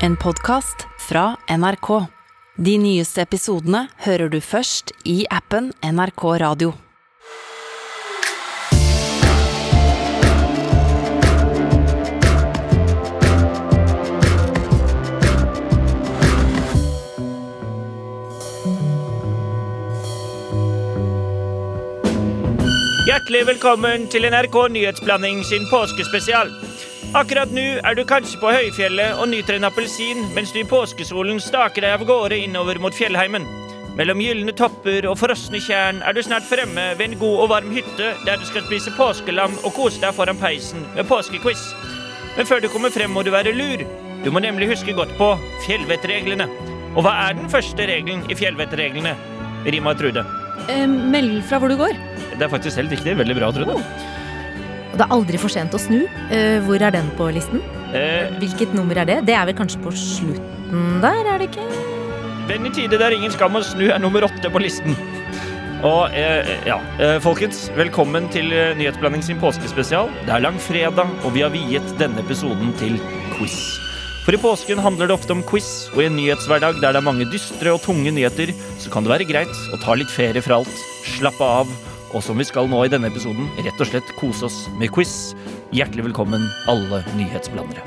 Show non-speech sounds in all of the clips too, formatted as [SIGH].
En podkast fra NRK. De nyeste episodene hører du først i appen NRK Radio. Hjertelig velkommen til NRK Nyhetsblanding sin påskespesial. Akkurat nå er du kanskje på høyfjellet og nyter en appelsin mens du i påskesolen staker deg av gårde innover mot fjellheimen. Mellom gylne topper og frosne tjern er du snart fremme ved en god og varm hytte der du skal spise påskelam og kose deg foran peisen med påskequiz. Men før du kommer frem, må du være lur. Du må nemlig huske godt på fjellvettreglene. Og hva er den første regelen i fjellvettreglene? Rima Trude. Eh, meld fra hvor du går. Det er faktisk helt riktig. Veldig bra, Trude. Og det er aldri for sent å snu. Eh, hvor er den på listen? Eh, Hvilket nummer er det? Det er vel kanskje på slutten der, er det ikke? Den i tide der ingen skam å snu er nummer åtte på listen. Og eh, ja, eh, folkens, velkommen til eh, Nyhetsblanding sin påskespesial. Det er langfredag, og vi har viet denne episoden til quiz. For i påsken handler det ofte om quiz, og i en nyhetshverdag der det er mange dystre og tunge nyheter, så kan det være greit å ta litt ferie fra alt, slappe av, og som vi skal nå i denne episoden, rett og slett kose oss med quiz. Hjertelig velkommen, alle nyhetsblandere.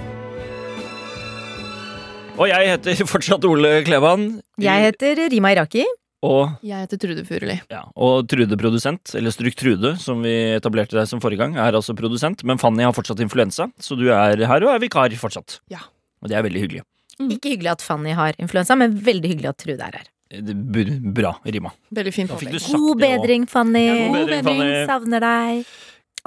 Og jeg heter fortsatt Ole Klevan. Jeg heter Rima Iraki. Og, Jeg heter Trude Furuli. ja, og Trude produsent, eller Struk Trude, som vi etablerte deg som forrige gang, er altså produsent. Men Fanny har fortsatt influensa, så du er her og er vikar fortsatt. Ja. Og det er veldig hyggelig. Ikke hyggelig at Fanny har influensa, men veldig hyggelig at Trude er her. Det b- Bra rima. Veldig fin Da fikk du påpekning. sagt God det også. bedring, Fanny. Ja, god bedring, Fanny. Savner deg.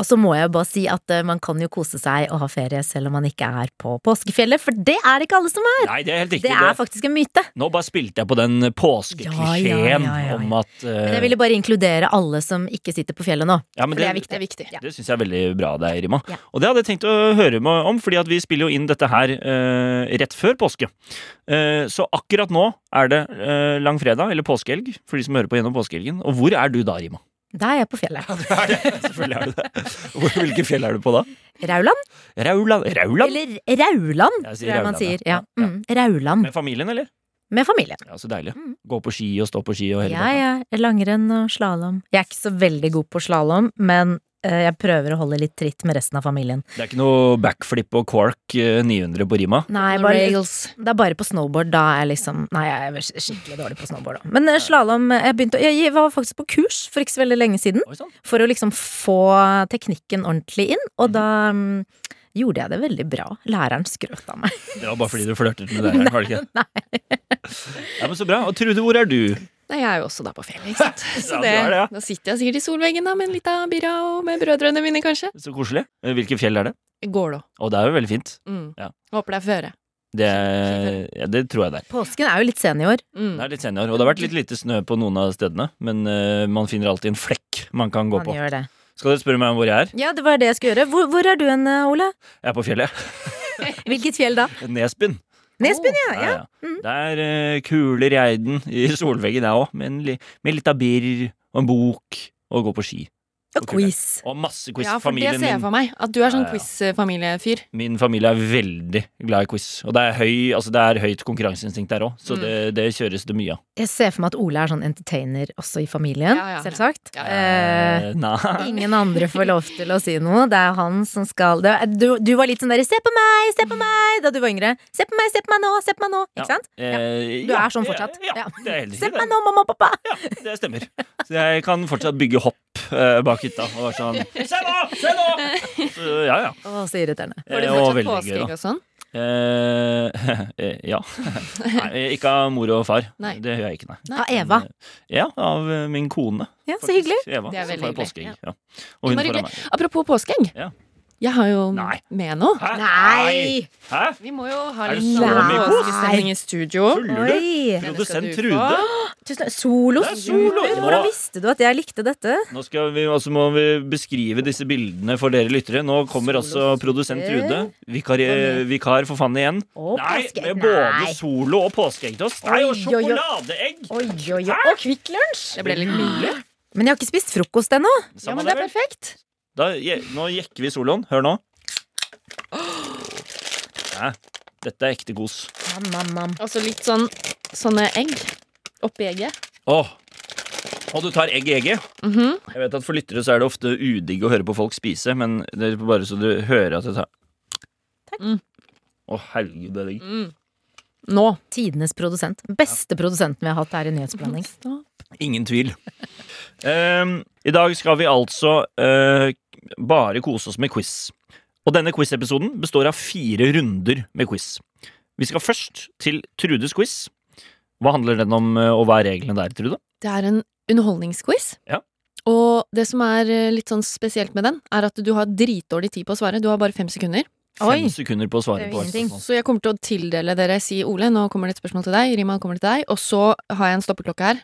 Og så må jeg jo bare si at eh, man kan jo kose seg og ha ferie selv om man ikke er på påskefjellet, for det er det ikke alle som er. Nei, det er helt riktig. Det er det. faktisk en myte. Nå bare spilte jeg på den påskeklisjeen Ja, ja, ja, ja, ja. om at eh, Men jeg ville bare inkludere alle som ikke sitter på fjellet nå. ja, men For det er viktig. Det er viktig. Ja. Det syns jeg er veldig bra av deg, Rima. Ja. Og det hadde jeg tenkt å høre meg om, fordi at vi spiller jo inn dette her eh, rett før påske. Eh, så akkurat nå er det eh, langfredag, eller påskehelg, for de som hører på gjennom påskehelgen. Og hvor er du da, [LAUGHS] Rima? Da er jeg på fjellet. Selvfølgelig er du det. Hvor, hvilke fjell er du på da? Rauland? Rauland? Rauland? Eller Rauland, Jeg sier tror jeg man Rauland, sier. ja. Ja. Mm. Rauland. Med familien, eller? Med familien. Ja, så deilig. Mm. Gå på ski og stå på ski og hele Jeg er langrenn og slalåm. Jeg er ikke så veldig god på slalåm, men eh, jeg prøver å holde litt tritt med resten av familien. Det er ikke noe backflip og cork eh, 900 på Rima. Nei, Noen bare rails. Det er bare på snowboard, da er jeg liksom Nei, jeg er skikkelig dårlig på snowboard, da. Men slalåm Jeg begynte å- Jeg var faktisk på kurs for ikke så veldig lenge siden, Oi sånn. sann. for å liksom få teknikken ordentlig inn, og da mm, gjorde jeg det veldig bra. Læreren skrøt av meg. Det var bare fordi du flørtet med deg, var det [LAUGHS] ikke? Nei. Ja, men så bra. Og Trude, hvor er du? Nei, jeg er jo også der på fjellet. Ikke [LAUGHS] sant? Så Ja, det, du er det, ja. Da sitter jeg sikkert i solveggen da, med en lita birra og med brødrene mine, kanskje. Så koselig. Eh, Hvilke fjell er det? Går da. Og det er jo veldig fint. Mm. Ja. Håper det er føre. Det, er- ja, det tror jeg det er. [LAUGHS] Påsken er jo litt sen i år. Mm. Det er litt senior, og det har vært litt lite snø på noen av stedene, men eh, man finner alltid en flekk man kan gå Han på. gjør det. Skal dere spørre meg om hvor jeg er? Ja, det var det jeg skulle gjøre. Hvor, hvor er du hen, eh, Ole? Jeg er på fjellet. [LAUGHS] Hvilket fjell da? Nesbyen. Nesbyen, ja. Ja, ja. Mm. Der eh, kuler jeg den i [LAUGHS] solveggen, jeg òg, med, en li- med litt av birr og en bok, og gå på ski. Og quiz. Og masse quiz. Ja, for det Familien ser jeg min for meg. At du er sånn Ja, ja. quiz-familiefyr. Min familie er veldig glad i quiz, og det er, høy, altså det er høyt konkurranseinstinkt der òg, så Mm. det, det kjøres det mye av. Jeg ser for meg at Ole er sånn entertainer også i familien, Ja, ja. selvsagt. Ja, Eh, Eh, nei. ingen andre får lov til å si noe. Det er han som skal det, er- du, du var litt sånn derre 'se på meg, se på meg' da du var yngre. 'Se på meg, se på meg nå, se på meg nå'. Ja. Ikke sant? Eh, Du ja, er sånn det- fortsatt. Ja, Ja. det er helt riktig. Se på det. meg nå, mamma og pappa! Ja, det stemmer. Så jeg kan fortsatt bygge hopp eh, bak hytta og være sånn Se nå! Se nå! Så, ja, ja. Å, så irriterende. Får du Eh, og fortsatt veldig gøy, påskeegg da. og sånn? Eh, [LAUGHS] eh, ja. Nei, ikke av mor og far. Nei. Det gjør jeg ikke, nei. Av Ah, Eva. Men, eh, Ja, av eh, min kone. Ja, så hyggelig. faktisk. Eva, Det er så veldig får jeg hyggelig, påskeegg. Ja. Og hun får Bare av hyggelig. meg. Apropos påskeegg. Ja. Jeg har jo Nei. med noe. Hæ? Nei! Hæ? Vi må jo ha Er det litt så mye kos? påskestemning i studio. Tuller du? Oi! Denne skal Produsent du Trude. få. Tusen takk. Solo. Det er solo. Super. Hvordan visste du at jeg likte dette? Nå skal vi, og så må vi beskrive disse bildene for dere lyttere. Nå kommer altså produsent Trude. Vikar, vikar for Fanny igjen. Å, Nei, påske- med Nei. både solo og påskeegg til oss. Nei, og Oi, oi, oi. sjokoladeegg! Oi, oi, oi. Og Kvikk Lunsj! Det ble litt mye. Men jeg har ikke spist frokost ennå. Ja, Samme men det, det er vel? perfekt. [GASPS] Da, je, nå jekker vi soloen. Hør nå. Hæ? Dette er ekte gos. Nam, nam, nam. Altså litt sånn sånne egg oppi egget. Åh. Og du tar egg i egget. Mhm. Jeg vet at For lyttere så er det ofte udigg å høre på folk spise, men det er bare så du hører at jeg tar Takk. Mm. Å, herregud, det er digg. Nå. Tidenes produsent. Beste produsenten vi har hatt her i Nyhetsblanding. Ingen tvil. Ehm, I dag skal vi altså eh, bare kose oss med quiz. Og denne quiz-episoden består av fire runder med quiz. Vi skal først til Trudes quiz. Hva handler den om, eh, og hva er reglene der, Trude? Det er en underholdningsquiz. Ja. Og det som er eh, litt sånn spesielt med den, er at du har dritdårlig tid på å svare. Du har bare fem sekunder. Oi. Fem sekunder på å svare Det er på jo hvert ingenting. spørsmål. Så jeg kommer til å tildele dere si Ole, nå kommer det et spørsmål til deg. Rima, nå kommer det til deg. Og så har jeg en stoppeklokke her.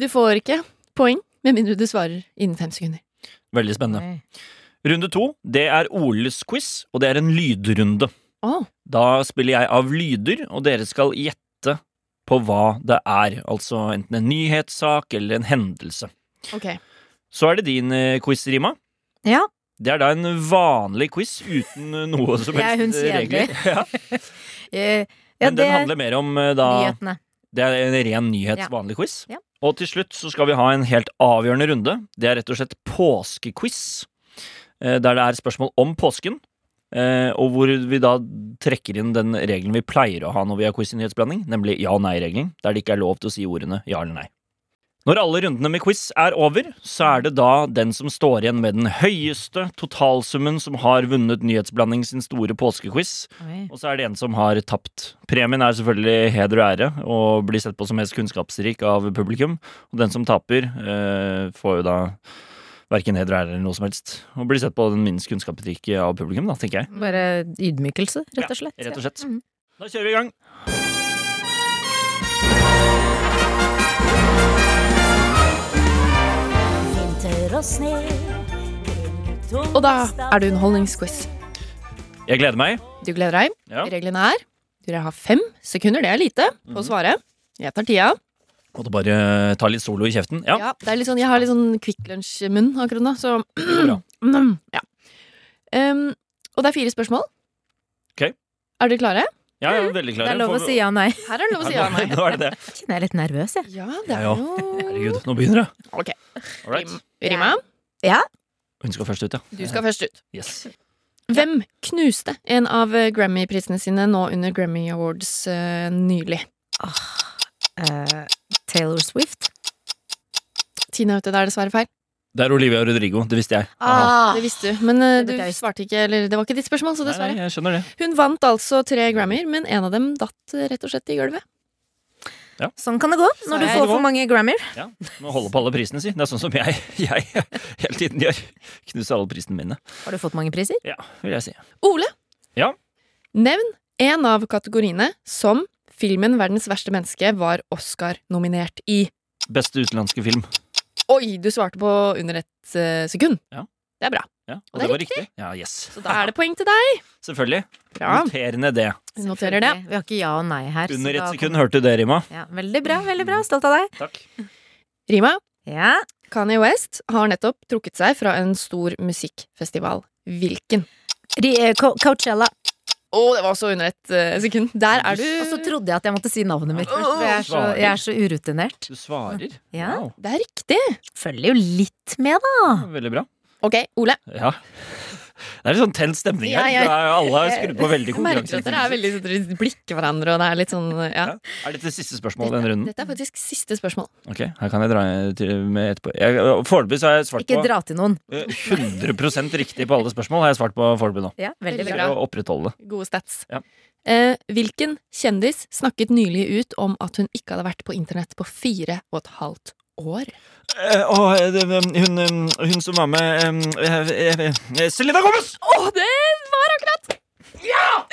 Du får ikke poeng med mindre du svarer innen fem sekunder. Veldig spennende. Oi. Runde to det er Oles quiz, og det er en lydrunde. Å, Da spiller jeg av lyder, og dere skal gjette på hva det er. Altså enten en nyhetssak eller en hendelse. ok. Så er det din eh, quiz, Rima. Ja. Det er da en vanlig quiz uten eh, noe som Jeg er hun helst eh, regler. [LAUGHS] Ja, Eh, Ja, men den det er handler mer om eh, da nyhetene. Det er en ren nyhets Ja. vanlig quiz. Ja. Og til slutt så skal vi ha en helt avgjørende runde. Det er rett og slett påskequiz, eh, der det er spørsmål om påsken. eh, Og hvor vi da trekker inn den regelen vi pleier å ha når vi har quiz i nyhetsblanding, nemlig ja- og nei-regelen, der det ikke er lov til å si ordene ja eller nei. Når alle rundene med quiz er over, så er det da den som står igjen med den høyeste totalsummen som har vunnet Nyhetsblanding sin store påskequiz, Oi. og så er det en som har tapt. Premien er selvfølgelig heder og ære og blir sett på som mest kunnskapsrik av publikum. Og den som taper, eh, får jo da verken heder og ære eller noe som helst. Og blir sett på den minst kunnskapsrike av publikum, da, tenker jeg. Bare ydmykelse, rett og slett. Mm. Rett og slett. Mhm. Da kjører vi i gang. Vinter og sne. Og da er det underholdningsquiz. Jeg gleder meg. Du gleder deg. Ja. Reglene er dere har fem sekunder, det er lite, på å svare. Jeg tar tida. Måtte bare eh, ta litt solo i kjeften. Ja, Ja, det er litt sånn, jeg har litt sånn Kvikk Lunsj-munn akkurat nå, så det går bra. mm, ja. Um, og det er fire spørsmål. Ok. Er dere klare? Ja, jeg er veldig klar. Det er lov å Får vi- si ja nei. Her er det lov å si ja og nei. Nå er det det. Kjenner jeg er litt nervøs, jeg. Ja, det er Ja, ja. jo Herregud, nå begynner det. Ok. All right. Rima, Hun skal først ut, ja. du skal først ut. Yes. Hvem knuste en av eh, Grammy-prisene sine nå under Grammy Awards eh, nylig? Eh, Taylor Swift. Tina er ute, det er dessverre feil. Det er Olivia Rodrigo, det visste jeg. Det visste du, men eh, Det du burde jeg visst. svarte ikke, eller det var ikke ditt spørsmål, Ah, så Nei, nei, dessverre. jeg skjønner det. Hun vant altså tre Grammyer, men en av dem datt eh, rett og slett i gulvet. Sånn kan det gå når du får Sånn kan det gå. for mange Grammyer. Ja, må holde på alle prisene, si. Det er sånn som jeg, [LAUGHS] jeg hele tiden gjør. Knuser alle prisene mine, Har du fått mange priser? Ja, vil jeg si. Ole, Ja? nevn en av kategoriene som filmen 'Verdens verste menneske' var Oscar-nominert i. Beste utenlandske film. Oi, du svarte på under et eh, sekund. Ja. Det er bra. Ja, Og og det det er var riktig. Ja, yes. Så da er det poeng til deg. Selvfølgelig. Bra. Noter ned det. Vi noterer det. Vi har ikke ja og nei her. så Under da ett sekund kommer- hørte du det, Rima. Ja, veldig bra, veldig bra. Stolt av deg. Takk. Rima, Ja. Kanye West har nettopp trukket seg fra en stor musikkfestival. Hvilken? De, eh, Co Coachella. Å, det var også under et eh, sekund. Der er du Og så trodde jeg at jeg måtte si navnet mitt først, for jeg er så, jeg er så urutinert. Du svarer. Ja. Wow, Det er riktig. Følger jo litt med, da. veldig bra. Ok, Ole. Ja. Det er litt sånn tent stemning her. Ja, ja. Det er- Alle har skrudd på veldig Jeg merker at dere er konkurranse. veldig sånn- dere blikker hverandre, og det er litt sånn ja. Ja. Er dette siste spørsmål i denne runden? Dette er faktisk siste spørsmål. Ok, her kan jeg dra til med etterpå. Jeg- Foreløpig så har jeg svart Ikke på dra til noen. eh, 100 riktig på alle spørsmål. har jeg svart på foreløpig nå. Ja, veldig Veldig bra. bra. Å opprettholde. Gode stats. Ja. Eh, hvilken kjendis snakket nylig ut om at hun ikke hadde vært på internett på fire og et halvt år? Eh, åh, det, hun, eh, hun som var med eh, eh, eh, Selena Gomez! Å, det var akkurat!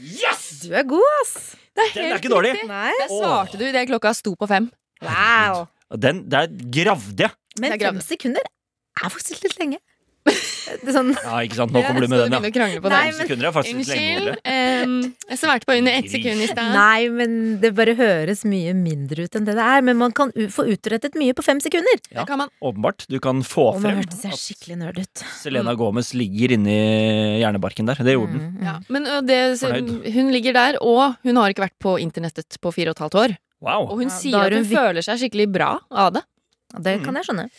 Yes! Du er god, ass. Det er Den er helt ikke dårlig. riktig. Nei. Der svarte du idet klokka sto på fem. Wow. Den der gravde jeg. Men Det [LAUGHS] er fem sekunder er faktisk litt lenge. Det er sånn, Ja, ikke sant, nå kommer du med den, ja. Skal begynne å krangle på Nei, det? men- Sekunder er faktisk litt lenge. Unnskyld. Ole. em, jeg svarte på under ett sekund i stad. nei, men det bare høres mye mindre ut enn det det er. Men man kan u få utrettet mye på fem sekunder. Det kan man. Åpenbart. Du kan få Og nå frem hørtes jeg skikkelig nerd ut. Selena Gomez ligger inni hjernebarken der. Det gjorde den. Mm, mm. Ja. Men ø, det, Fornøyd. hun ligger der, og hun har ikke vært på internettet på fire og et halvt år. Og Wow. Ja, hun sier da har at hun hun vi- føler seg skikkelig bra av det. Og Det kan jeg Mm. skjønne.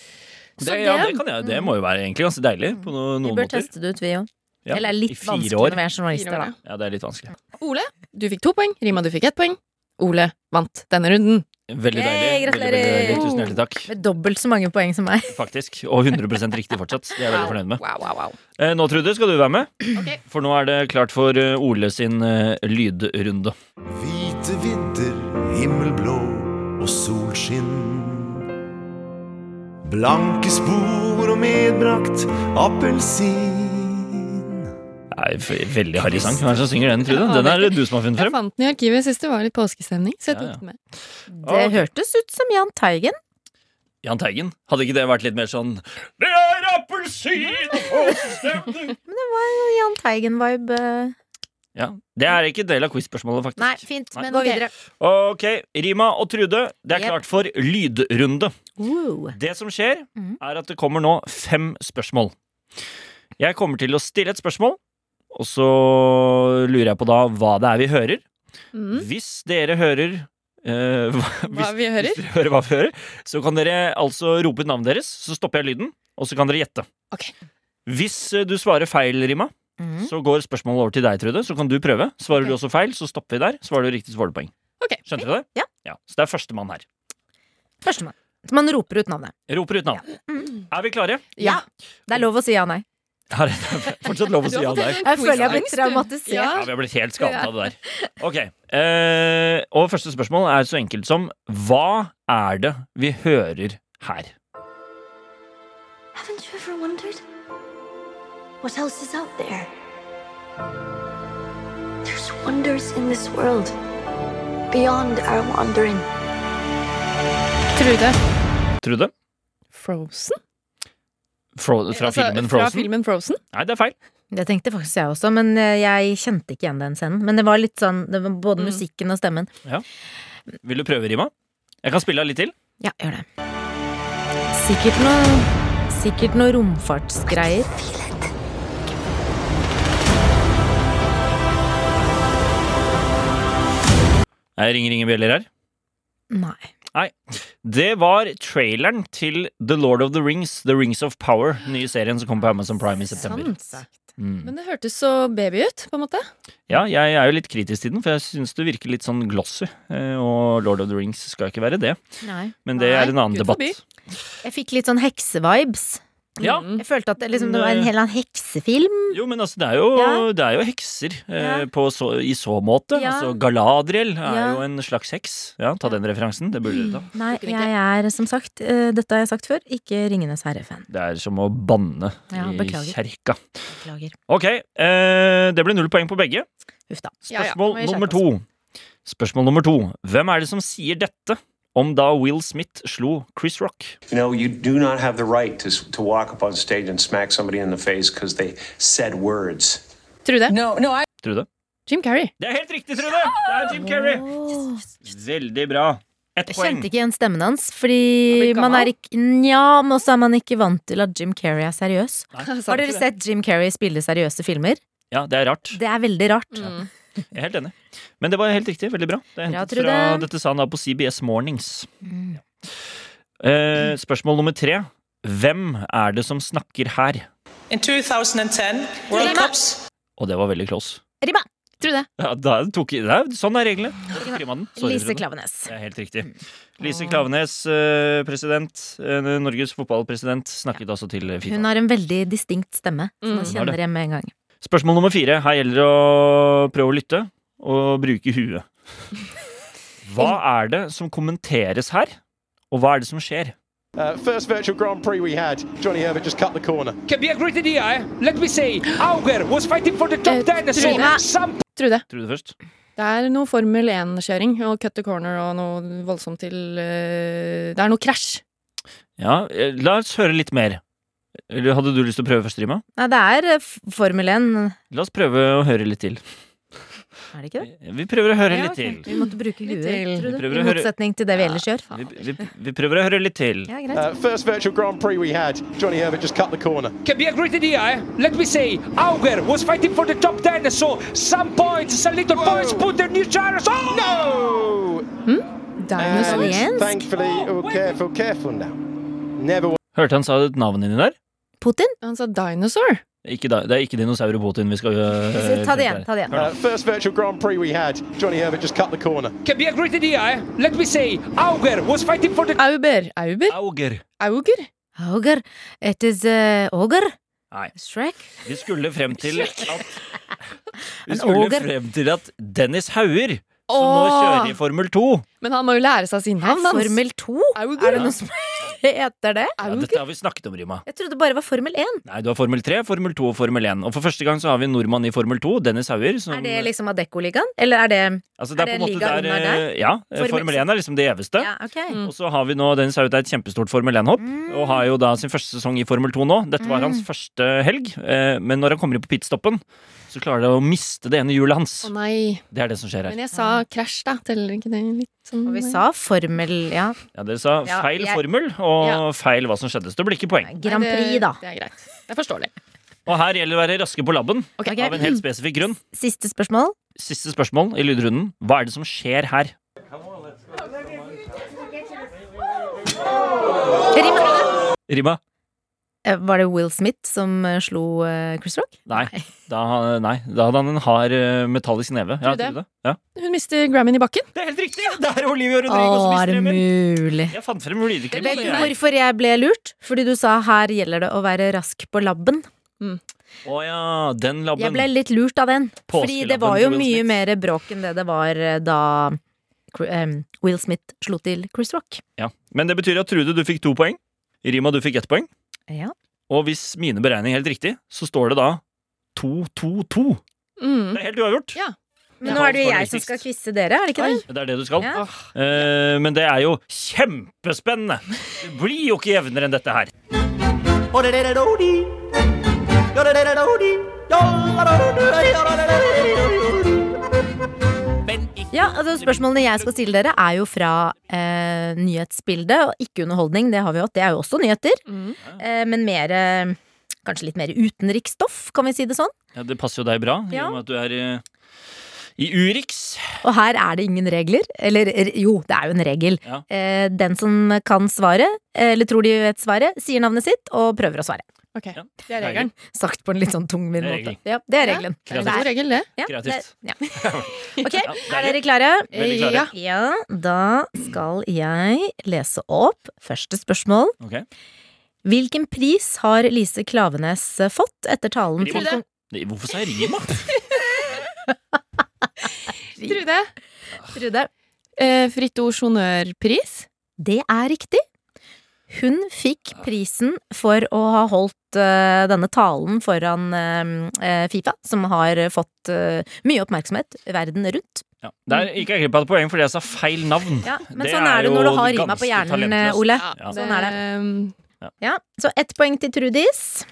Så Det, ja, det- det, kan jeg, det må jo være egentlig ganske deilig på no, Mm. Vi noen bør måter. teste det ut, vi òg. Ja, Eller det er i litt fire vanskelig år. når vi er journalister, da. Fire år, Ja, det er litt vanskelig. ja. Ole, du fikk to poeng. Rima, du fikk ett poeng. Ole vant denne runden. Veldig Yay, deilig. Veldig, veldig, gratulerer. deilig. Tusen hjertelig takk. Med dobbelt så mange poeng som meg. Faktisk. Og 100 riktig fortsatt. Det er jeg veldig fornøyd med. Wow, wow, wow. Eh, Nå, Trude, skal du være med? Ok. For nå er det klart for eh, Ole sin eh, lydrunde. Hvite vidder, himmelblå og solskinn. Blanke spor og medbrakt appelsin. Det er v- veldig harry sang. Hvem er det som synger den, Trude? Den er det du som har funnet Jeg frem. fant den i arkivet sist det var litt påskestemning. Så jeg Ja, ja. tok den med. Det Ok. hørtes ut som Jahn Teigen. Jahn Teigen. Hadde ikke det vært litt mer sånn Det er appelsin og stemning Jahn Teigen-vibe. eh. Ja. Det er ikke del av quiz-spørsmålet, faktisk. Nei, fint. Nei. Men gå Ok. videre. Ok, Rima og Trude, det er Yep. klart for lydrunde. Wow. Det som skjer, Mhm. er at det kommer nå fem spørsmål. Jeg kommer til å stille et spørsmål, og så lurer jeg på da hva det er vi hører. Mm. Hvis dere hører eh, [LAUGHS] hva, Hva vi hvis hører? dere hører hva vi hører, så kan dere altså rope ut navnet deres, så stopper jeg lyden, og så kan dere gjette. Ok. Mm. Hvis eh, du svarer feil, Rima, Mhm. så går spørsmålet over til deg, Trude. Så kan du prøve. Svarer Ok. du også feil, så stopper vi der. Svarer du riktig, så får du poeng. Ok. Skjønte du det? Ja. Så det er førstemann her. Førstemann. Så man roper ut navnet. Roper ut navn. Mm. Er vi klare? Ja. Det er lov å si ja nei. [LAUGHS] Her er det fortsatt [LAUGHS] lov å si ja der. Jeg føler jeg har blitt traumatisert. Ja. Ja, vi har blitt helt skadet av det der. [LAUGHS] Ok. Eh, og første spørsmål er så enkelt som Hva er det vi hører her? Haven't you ever wondered what else is out there? There's wonders in this world beyond our wandering. Trude. Trude? Frozen? Fro fra Altså, filmen Fra Frozen? filmen Frozen? Nei, det er feil. Det tenkte faktisk jeg også, men eh, jeg kjente ikke igjen den scenen. Men det var litt sånn, det var både Mm. musikken og stemmen. Vil du prøve, Rima? Jeg kan spille av litt til. Ja, gjør det. Sikkert noe Sikkert noe romfartsgreier. Jeg ringer ingen bjeller her. Nei. Det var traileren til The Lord of the Rings, The Rings of Power, den nye serien som kom på Amazon Prime i Sånn september. Sant sagt. Mm. Men det hørtes så baby ut, på en måte. Ja, jeg er jo litt kritisk til den, for jeg syns det virker litt sånn glossy. eh, Og Lord of the Rings skal ikke være det. Nei. Men det Nei, er en annen Gud debatt. forby. Jeg fikk litt sånn heksevibes. Ja, Mm. Jeg følte at det, liksom, det var en hel annen heksefilm. jo, men altså, det er jo, Ja. det er jo hekser eh, Ja. på så, i så måte. Ja. Altså, Galadriel er Ja. jo en slags heks. Ja, ta den referansen. Det burde dere ta. Nei, Tok den ikke. jeg er som sagt, eh, dette har jeg sagt før, ikke Ringenes herre-fan. Det er som å banne Ja, i beklager. kjerka. Beklager. Ok, eh, det ble null poeng på begge. Huff da. Ja, ja, Spørsmål må vi skjerpe nummer to. Spørsmål nummer to. Hvem er det som sier dette om da Will Smith slo Chris Rock? No, you do not have the right to, to walk up on stage and smack somebody in the face because they said words. Trude. Trude? Jim Carrey. Det er helt riktig, Trude! Det er Jim Carrey. Veldig bra. Ett Jeg poeng. kjente ikke igjen stemmen hans, fordi Han blir man gammel. er ikke Nja, men også er man ikke vant til at Jim Carrey er seriøs. Har dere sett Jim Carrey spille seriøse filmer? Ja, det er rart. Det er veldig rart. Mm. Jeg er helt enig. Men det var helt riktig. Veldig bra. Det er Bra, hentet Trude. fra dette sa han da på CBS Mornings. Mm. Eh, spørsmål nummer tre. Hvem er det som snakker her? In 2010, World Lima. Cups. Og det var veldig close. Rima! Trude. Ja, da tok, nei, sånn er reglene. Prima den. Sorry, Lise Mm. Trude. Klavenes. Det er helt riktig. Lise Klavenes, eh, president, eh, Norges fotballpresident, snakket altså til Hun Fifa. har en veldig distinkt stemme, som man Mm. Har det. kjenner igjen med en gang. Spørsmål nummer fire. Her gjelder det å prøve å lytte og bruke [LAUGHS] huet. Hva er det som kommenteres her, og hva er det som skjer? Uh, first virtual Grand Prix we had, Johnny Herbert just cut the corner. can be a great idea. eh? Let me say, Auger was fighting for the Eh, top 10, Trina. so some Trude. Trude først. Det er noe Formel 1-kjøring og cut the corner og noe voldsomt til eh, Det er noe krasj. Ja, eh, la oss høre litt mer. Eller Hadde du lyst til å prøve første rima? Nei, det er eh, f- Formel 1, La oss prøve å høre litt til. er det ikke det? Vi prøver å høre Ja, litt ok. til. Vi måtte bruke huet, Litt til. Vi tror du? prøver å I høre- motsetning til det vi ellers gjør. Vi, vi, vi prøver å høre litt til. Ja, greit. Uh, first virtual Grand Prix we had, Johnny Herbert just cut the corner. Can be a great idea, eh? Let me say, Auger was fighting for the top 10, so some points, some little Whoa. points, put their new chairs. Oh! No! Dinosaur Eh. And Jens. thankfully, oh, careful, careful now. Never Hørte han sa navnet ditt der? Putin? Han sa dinosaur. Ikke da, det er ikke dinosaurer og Putin vi skal øh, Ta det igjen. ta det igjen Uh, first virtual Grand Prix we had, Johnny Herbert just cut the corner. Can be a great idea, eh? Let me say, Auger was fighting for the. Auber. Auber? Auger. Auger? Auger. It is uh, Auger. Nei. Shrek. Vi skulle [LAUGHS] frem til at Vi En skulle auger. frem til at Dennis Hauger, som nå kjører i Formel 2 Men han må jo lære seg sin navn, hans. Formel 2? Auger. Er det noe som heter [LAUGHS] det? ja, Dette har vi snakket om, Rima. Jeg trodde det bare var Formel 1. Nei, du har Formel 3, Formel 2 og Formel 1. Og for første gang så har vi en nordmann i Formel 2, Dennis Hauger. Som, Er det liksom Adecco-ligaen? Eller er det altså, det er, er på en det en måte liga der, under der? eh, Ja, eh, Formel- Formel 1 er liksom det gjeveste. Ja, ok. Og så har vi nå Dennis Hauger, det er et kjempestort Formel 1-hopp. Og har jo da sin første sesong i Formel 2 nå. Dette var hans første helg. eh, Men når han kommer inn på pitstoppen, så klarer han å miste det ene hjulet hans. Å nei. Det er det som skjer her. Men jeg sa krasj, da. Teller ikke det litt sånn? Og vi sa formel, ja. Ja, dere sa Ja, feil jeg- formel og Ja. feil hva som skjedde. Så det blir ikke poeng. Grand Nei, Prix, det- da. Det er greit. Det er forståelig. Og her gjelder det å være raske på labben Ok. av en helt spesifikk grunn. Siste spørsmål. Siste spørsmål i lydrunden. Hva er det som skjer her? Rima. Rima? Eh, Var det Will Smith som eh, slo eh, Chris Rock? Nei. Da, nei. da hadde han en hard eh, metallisk neve. Ja, Tror du det? tror du det? Ja. Hun mister Grammyen i bakken. det er helt riktig! Det er Olivia Å, Rodrigo som er mister det remmen. mulig? Jeg fant frem Olivia Vet du hvorfor jeg ble lurt? Fordi du sa her gjelder det å være rask på labben. Å ja, den Jeg labben. ble litt lurt av den. Fordi det Påskelabben var til jo Will mye Smith. mer bråk enn det det var eh, da Cri- em, Will Smith slo til Chris Rock. Ja. Men det betyr at Trude, du fikk to poeng. Rima, du fikk ett poeng. Ja. Og hvis mine beregninger er helt riktig, så står det da 2-2-2. Mm. Det er helt uavgjort. Ja. Men Ja. nå er det jo Var jeg det som sist? skal quize dere, er det ikke det? Det er det du skal. Ja. Eh, men det er jo kjempespennende! Det blir jo ikke jevnere enn dette her. Ja, altså Spørsmålene jeg skal stille dere, er jo fra eh, nyhetsbildet, og ikke underholdning. Det har vi jo hatt. Det er jo også nyheter. Mm. Eh, men mer eh, Kanskje litt mer utenriksstoff, kan vi si det sånn. Ja, det passer jo deg bra, i Ja. og med at du er eh, i Urix. Og her er det ingen regler. Eller er- jo, det er jo en regel. Ja. Eh, den som kan svaret, eller tror de vet svaret, sier navnet sitt og prøver å svare. Ok, Ja. det er regelen. Sagt på en litt sånn tungvint Det er måte. regelen. Ja, det er regelen. Det er en Kreativt. god regel, det. Ja, Kreativt. det- ja. Ok, Ja, deilig. er dere klare? Veldig klare. Ja. Ja, da skal jeg lese opp første spørsmål. Ok. Hvilken pris har Lise Klavenes fått etter talen til Rima. Nei, Hvorfor sa jeg Rima? Trude. Trude? Eh, Fritt ords honnørpris. Det er riktig. Hun fikk prisen for å ha holdt eh, denne talen foran eh, eh, Fifa, som har eh, fått eh, mye oppmerksomhet verden rundt. Ja. Der gikk jeg glipp av et poeng fordi jeg sa feil navn. Ja, men Det sånn er er det jo når du har rima ganske altså. på hjernen, eh, talentløst. Ole. Ja. Sånn er det. ehm, Ja, så ett poeng til Trudis.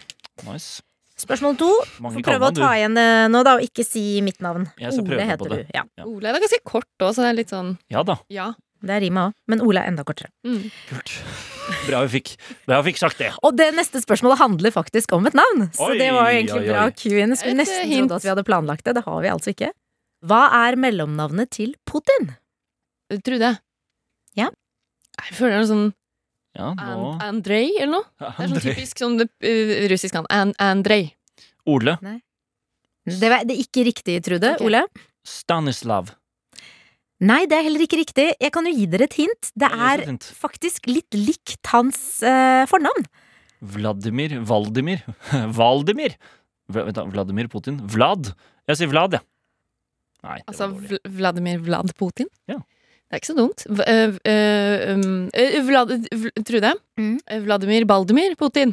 Nice. Spørsmål to. Mange Får prøve å kallenavn, ta igjen det nå, da, og ikke si mitt navn. Jeg skal prøve Ole på heter det. du. Ja, Ja. Ole det er ganske kort òg, så det er litt sånn du. Ja da. ja. det er rima òg, men Ole er enda kortere. Mm. Kult. Bra vi fikk, bra vi fikk sagt det. Og det neste spørsmålet handler faktisk om et navn. Så Oi, det var jo egentlig oi, oi. bra Q-in. Jeg Skulle Et eh, nesten hint. trodd at vi hadde planlagt det. Det har vi altså ikke. Hva er mellomnavnet til Putin? Trude. Ja. Jeg føler det er noe sånn Ja, Um, nå And Andrej, eller noe? Det er sånn Andrei. typisk sånn eh, russisk navn. And Andrej. Ole. Det var- det er ikke riktig, Trude. Ok. Ole? Stanislav. Nei, det er heller ikke riktig. Jeg kan jo gi dere et hint. Det Ja, det er så er fint. faktisk litt likt hans eh, fornavn. Vladimir Valdimir [LAUGHS] Valdimir Vla- vent da, Vladimir Putin Vlad Jeg sier Vlad, jeg Nei, det Altså var dårlig Vl Vladimir Vlad Putin. Ja. Det er ikke så dumt. V øh, øh, um, øh, Vlad Vl- Trude? Mm. Øh, Vladimir Baldemir Putin.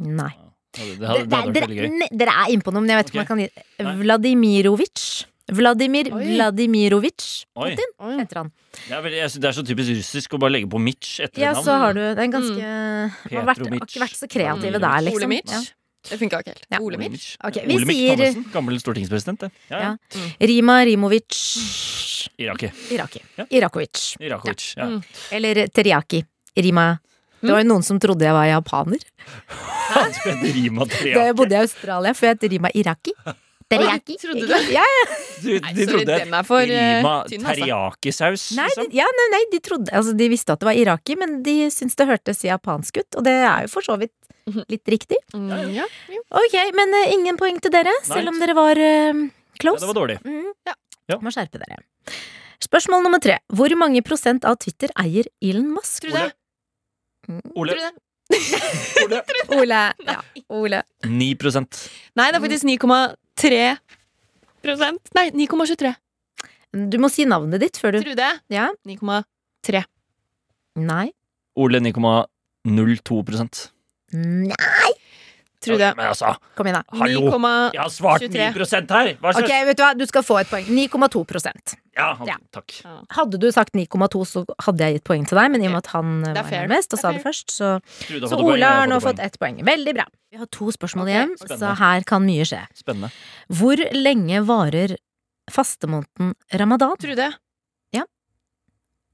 Nei. Det hadde, det hadde, det Dere- hadde vært veldig gøy dere, ne- dere er innpå noe, men jeg vet ikke om jeg kan gi Nei. Vladimirovic. Vladimir Oi. Vladimirovic Oi. Putin heter han. Det er, vel, jeg, synes det er så typisk russisk å bare legge på Mitch etter Ja, navn. så har du Det er en ganske Man har vært, har Mm. Petrovic. Mm. ikke vært så kreative der, liksom. Ole Mitch. Ja. Det funka ikke helt. Ja. Ole Mitch. Mitch. Ok, vi Ole Mitch sier- Thommessen, gammel stortingspresident. det. Ja, ja. Ja. Rima Rimovic Iraki. Iraki. Ja. Irakovic. Irakovic. Ja. Mm. Eller Teriaki. Rima Det var jo noen som trodde jeg var japaner. [LAUGHS] Han spente rima Da jeg triaki. bodde i Australia, for jeg het Rima Iraki. [LAUGHS] Teriaki. Oi, trodde du? Ja, ja. Du, Nei, de sorry, trodde den er for, eh, rima tynn, altså. teriyaki-saus, Nei, de, liksom. ja, nei, nei, de trodde Altså, de visste at det var Iraki, men de syntes det hørtes japansk ut. Og det er jo for så vidt Mhm. litt riktig. Mm, ja. jo. Ok, men eh, ingen poeng til dere, Nei. selv om dere var eh, Ja, close. det var dårlig. Mm. Ja. Ja. Må skjerpe dere. Spørsmål nummer tre. Hvor mange prosent av Twitter eier Elon Musk? Tror du det? Ole, Tror du det? [LAUGHS] [LAUGHS] Ole. Ja, Ole. Mm. 9 Nei, det er faktisk 9,3 prosent. Nei, 9,23. Mm, Du må si navnet ditt før du Tror du det? Ja. 9,3. Nei. Ole 9,02 Tror Nei. Tror du det? Men altså, Kom igjen, da. hallo! 9,- Jeg har svart 9 23. her! Hva slags Ok, vet du hva? Du skal få et poeng. 9,2 prosent. Ja, ok, Ja. takk. Hadde du sagt 9,2, så hadde jeg gitt poeng til deg, men i og med at han eh, Det er var fair. nærmest og Det er sa det fair. først, så Trude har Så fått et poeng, Ole jeg har nå et fått ett poeng. Veldig bra. Vi har to spørsmål Ok, igjen, spennende. så her kan mye skje. poeng. Spennende. Hvor lenge varer fastemåneden ramadan? Tror du det? Ja.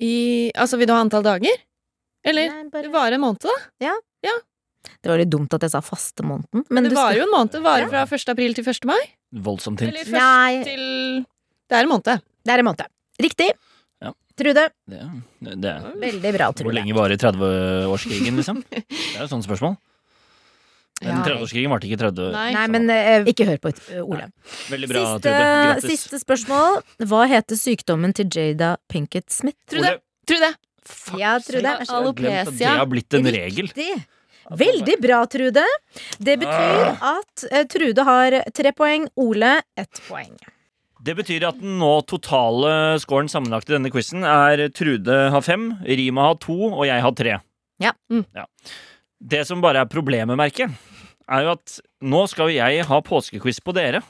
I, altså, vil du ha antall dager? Eller? Nei, Det bare- varer en måned, da. Det var litt dumt at jeg sa fastemåneden, men Det du varer jo en måned. Det varer Ja. fra 1. april til 1. mai. Voldsomt hint. Eller 1. Nei. til Det er en måned. Det er en måned. Riktig. Ja. Trude. Det, det, Veldig bra, hvor Trude. lenge varer 30-årskrigen, [LAUGHS] liksom? Det er jo et sånt spørsmål. Men Ja. 30-årskrigen varte ikke 30 Nei. Nei, men eh, ikke hør på eh, Ole. Veldig bra, Trude. Siste, Grattis. siste spørsmål. Hva heter sykdommen til Jada Pinkett Smith? Tror du det? Tror du det? Fuck, Ja, Trude, sake, vær så jeg har god. glemt at Det Alopecia. har blitt en regel. Riktig. Veldig bra, Trude. Det betyr Ah. at eh, Trude har tre poeng, Ole ett poeng. Det betyr at den nå totale scoren sammenlagt i denne quizen er Trude har fem, Rima har to, og jeg har tre. Ja. Mm. Ja. Det som bare er problemet, merker jeg, er jo at nå skal jo jeg ha påskequiz på dere.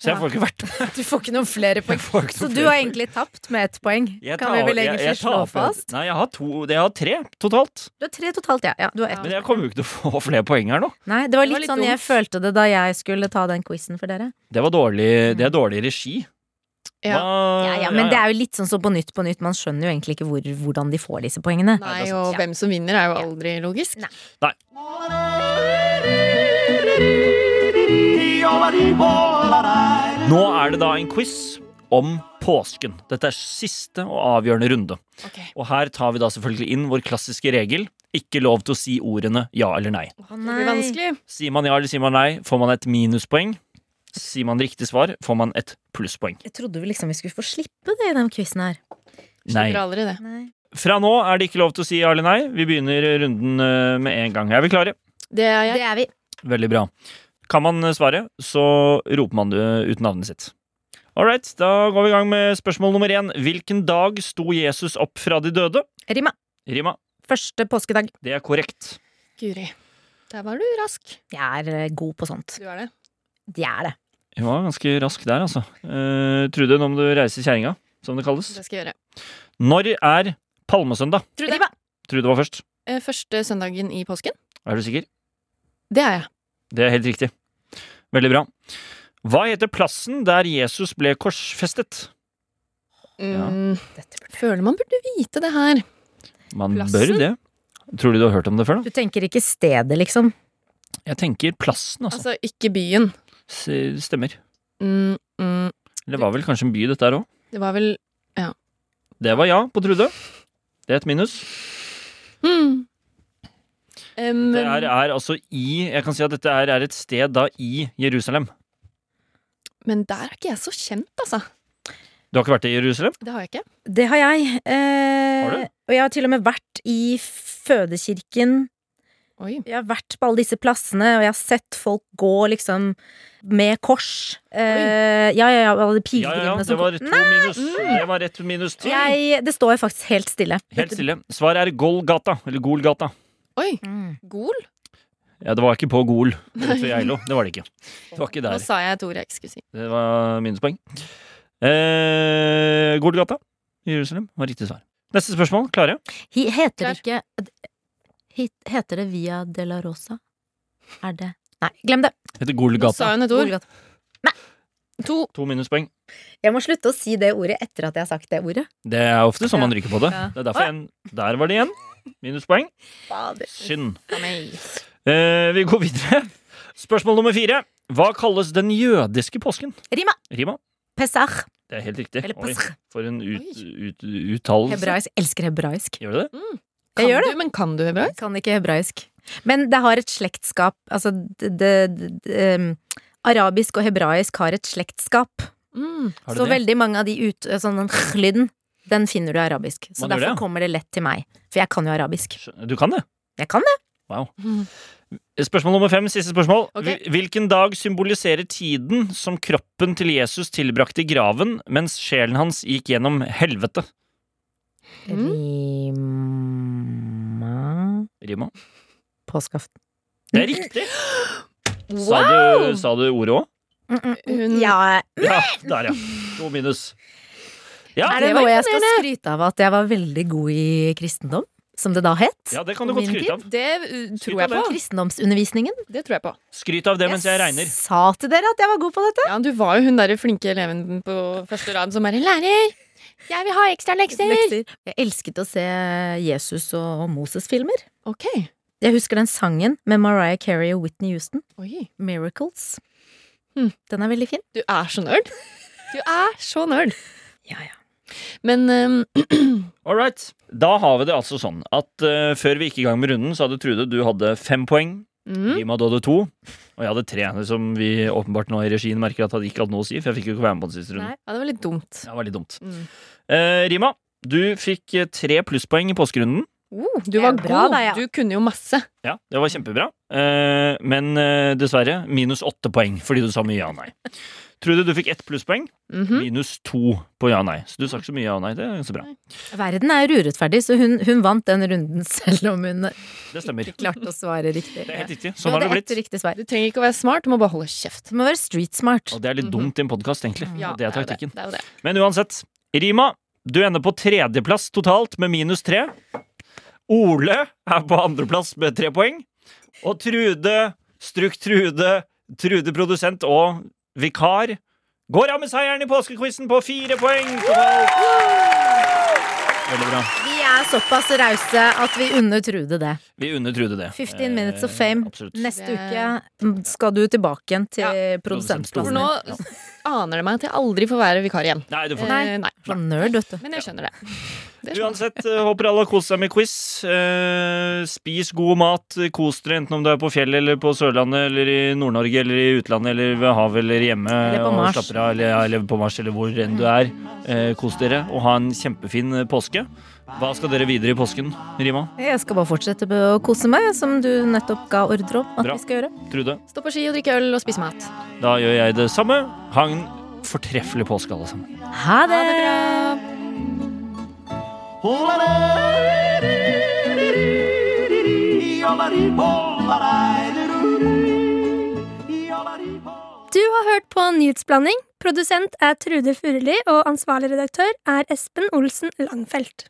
Så jeg Ja. får ikke vært med. [LAUGHS] Du får ikke noen flere [LAUGHS] [LAUGHS] poeng. Jeg får ikke Så noe du flere har egentlig tapt med ett poeng? Jeg kan tar- vi vel jeg- egentlig jeg slå tar på- fast? Nei, jeg har, to, jeg har tre totalt. Du har tre totalt, ja. ja du har ett. Men jeg kommer jo ikke til å få flere poeng her nå. Nei, det var Det var litt, litt sånn jeg følte det da jeg skulle ta den quizen for dere. Det, var dårlig, det er dårlig regi. Ja. Hva- Ja, ja, men det er jo litt sånn som på nytt på nytt. Man skjønner jo egentlig ikke hvor, hvordan de får disse poengene. Nei, det er og sant. hvem som vinner, er jo aldri logisk. Nei. Nå er det da en quiz om påsken. Dette er siste og avgjørende runde. Ok. Og her tar vi da selvfølgelig inn vår klassiske regel. Ikke lov til å si ordene ja eller nei. Å, Det blir vanskelig. Sier man ja eller sier man nei, får man et minuspoeng. Sier man riktig svar, får man et plusspoeng. Jeg trodde vi liksom vi skulle få slippe det i den quizen her. Nei. Slipper aldri det. Nei. Fra nå er det ikke lov til å si ja eller nei. Vi begynner runden eh, med en gang. Er vi klare? Det er jeg. Det er vi. Veldig bra. Kan man eh, svare, så roper man det ut navnet sitt. All right, da går vi i gang med spørsmål nummer én. Hvilken dag sto Jesus opp fra de døde? Rima. Rima, Første påskedag. det er korrekt. Guri. Der var du rask. Jeg er eh, god på sånt. Du er det. Det er det. Hun var ganske rask der, altså. Eh, Trude, nå må du reise kjerringa, som det kalles. Det skal jeg gjøre. Når er palmesøndag? Tror du det? Rima. Trude var først. Eh, Første søndagen i påsken? Er du sikker? Det er jeg. Det er helt riktig. Veldig bra. Hva heter plassen der Jesus ble korsfestet? Mm, Dette burde- Føler man burde vite det her. Man bør Plassen? det. Tror du du har hørt om det før? da? Du tenker ikke stedet, liksom? Jeg tenker plassen, altså. Altså, ikke byen. S- Stemmer. Mm, mm, Det var vel kanskje en by, dette her òg. det var vel Det var ja på Trude. Det er et minus. mm. Em, Det her er altså i Jeg kan si at dette er, er et sted da i Jerusalem. Men der er ikke jeg så kjent, altså. Du har ikke vært i Jerusalem? Det har jeg ikke. Det har jeg. Eh, Har du? Og jeg har til og med vært i fødekirken. Oi. Jeg har vært på alle disse plassene, og jeg har sett folk gå liksom med kors. Eh, ja, ja, ja, Ja, ja, alle ja. pilegrimene Det som var kom. to minus. Det var ett minus. Nei, jeg, det står faktisk helt stille. Helt stille. Svaret er Golgata. Eller Golgata. Oi. Mm. Gol? Ja, det var ikke på Gol. Rett ved Geilo. Det var det ikke. Det var ikke Nå der. sa jeg et ord jeg ikke skulle si. Det var minuspoeng. Eh, Golgata i Jerusalem var riktig svar. Neste spørsmål. Klare? Hi- Heter det ikke hit- Heter det Via de la Rosa? Er det Nei, glem det. Heter Nå sa Golgata. hun et ord. Golgata. To. To minuspoeng. Jeg må slutte å si det ordet etter at jeg har sagt det ordet. Det er ofte sånn man ryker på det. Ja. Det er derfor jeg Der var det igjen. Minuspoeng. Fader. Synd. Kom igjen. Eh, vi går videre. Spørsmål nummer fire. Hva kalles den jødiske påsken? Rima. Rima. Pesach. Det er helt riktig. Eller Oi, Pesach. for en ut, ut, uttalelse. Hebraisk. Elsker hebraisk. Gjør du det? Jeg gjør det. Du, men kan du hebraisk? Kan ikke hebraisk. Men det har et slektskap Altså, det, det, det um, Arabisk og hebraisk har et slektskap. Mm. Har du Så det? veldig mange av de ut... Sånn den lyden, den finner du i arabisk. Så Man gjør derfor det, ja. kommer det lett til meg. For jeg kan jo arabisk. Skjø- Du kan det? Jeg kan det. Spørsmål nummer fem, siste spørsmål. Ok. Hvil- Hvilken dag symboliserer tiden som kroppen til Jesus tilbrakte i graven, mens sjelen hans gikk gjennom helvete? Mm. Rima Rima. Påskeaften. Det er riktig! Sa Wow! du, sa du ordet òg? Hun- Ja, Ja, der, ja. To minus. Ja, er det det var noe jeg skal skryte av at jeg var veldig god i kristendom? Som det da het? ja det kan du godt skryte av. Det uh, tror av jeg på. Kristendomsundervisningen. Det tror jeg på. Skryt av det mens jeg regner. sa til dere at jeg var god på dette! Ja, du var jo hun derre flinke eleven på første rad som bare 'Lærer, jeg vil ha ekstra lekser'. Lekser. Jeg elsket å se Jesus og Moses-filmer. Ok. Jeg husker den sangen med Mariah Carey og Whitney Houston, Oi. 'Miracles'. Hmm. Den er veldig fin. Du er så nerd. Du er så nerd. Ja, ja. Men um, All right. Da har vi det altså sånn at eh, før vi gikk i gang med runden, så hadde Trude du hadde fem poeng. mm, Rima, du hadde to. Og jeg hadde tre, som vi åpenbart nå i regien merker at hadde ikke hatt noe å si, for jeg fikk jo ikke være med på den siste runden. Ja, det var litt dumt. Det var litt dumt. Mm. Eh, Rima, du fikk eh, tre plusspoeng i påskerunden. Oh, du var Det er bra, god. da, ja. Du kunne jo masse. Ja, det var kjempebra. Eh, men eh, dessverre minus åtte poeng fordi du sa mye ja og nei. Trude, du fikk ett plusspoeng. Mhm. Minus to på ja og nei. Så du sa ikke så mye ja og Mm. nei. Det er ganske bra. Verden er urettferdig, så hun, hun vant den runden [LAUGHS] selv om hun Det stemmer. klarte å svare riktig. Det er helt riktig. Du Sånn har det hadde blitt. ett riktig svar. Du trenger ikke å være smart, du må bare holde kjeft. Du må være street smart. Og det er litt dumt i en podkast, egentlig. Ja, Mm, det er jo taktikken. Det, det er jo det. Men uansett. Rima, du ender på tredjeplass totalt med minus tre. Ole er på andreplass med tre poeng. Og Trude, Struk Trude, Trude produsent og vikar går av med seieren i påskequizen på fire poeng totalt. Veldig bra. Vi er såpass rause at vi unner Trude det. Vi unner Trude det. 15 minutes of Eh, fame. Absolutt. Neste Det- uke skal du tilbake igjen til Ja, For produsentplassen. nå din. Ja. aner det meg at jeg aldri får være vikar igjen. Nei, du får Nei. Eh, nei. Sånn nerd, vet du. Men jeg skjønner det. det skjønner. jeg. Uansett, eh, håper alle har kost seg med quiz. Eh, spis god mat, kos dere enten om du er på fjellet eller på Sørlandet eller i Nord-Norge eller i utlandet eller ved havet eller hjemme. Eller på Mars. Mm. Og slapper av, eller, ja, eller på Mars eller hvor enn du er. Eh, kos dere og ha en kjempefin eh, påske. Hva skal dere videre i påsken, Rima? Jeg skal bare fortsette med å kose meg, som du nettopp ga ordre om at Bra. vi skal gjøre. Trude? Stå på ski og drikke øl og spise mat. Da gjør jeg det samme. Ha en fortreffelig påske, alle sammen. Ha det! Du har hørt på Nyhetsblanding. Produsent er Trude Furuli, og ansvarlig redaktør er Espen Olsen Langfelt.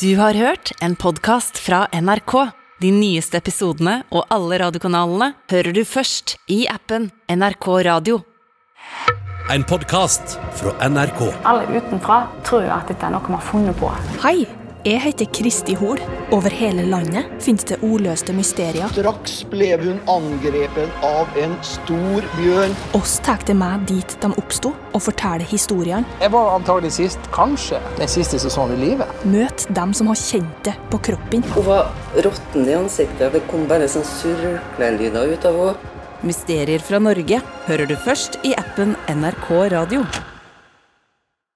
Du har hørt en podkast fra NRK. De nyeste episodene og alle radiokanalene hører du først i appen NRK Radio. En podkast fra NRK. Alle utenfra tror jo at dette er noe man har funnet på. Hei, jeg heter Kristi Hol. Over hele landet finnes det oløste mysterier. Straks ble hun angrepet av en stor bjørn. Oss tar det med dit de oppsto, og forteller historiene. Jeg var antagelig sist, kanskje, den siste sesongen i livet. Møt dem som har kjent det på kroppen. Hun var råtten i ansiktet. Det kom bare sånn surklelyder ut av henne. Mysterier fra Norge hører du først i appen NRK Radio.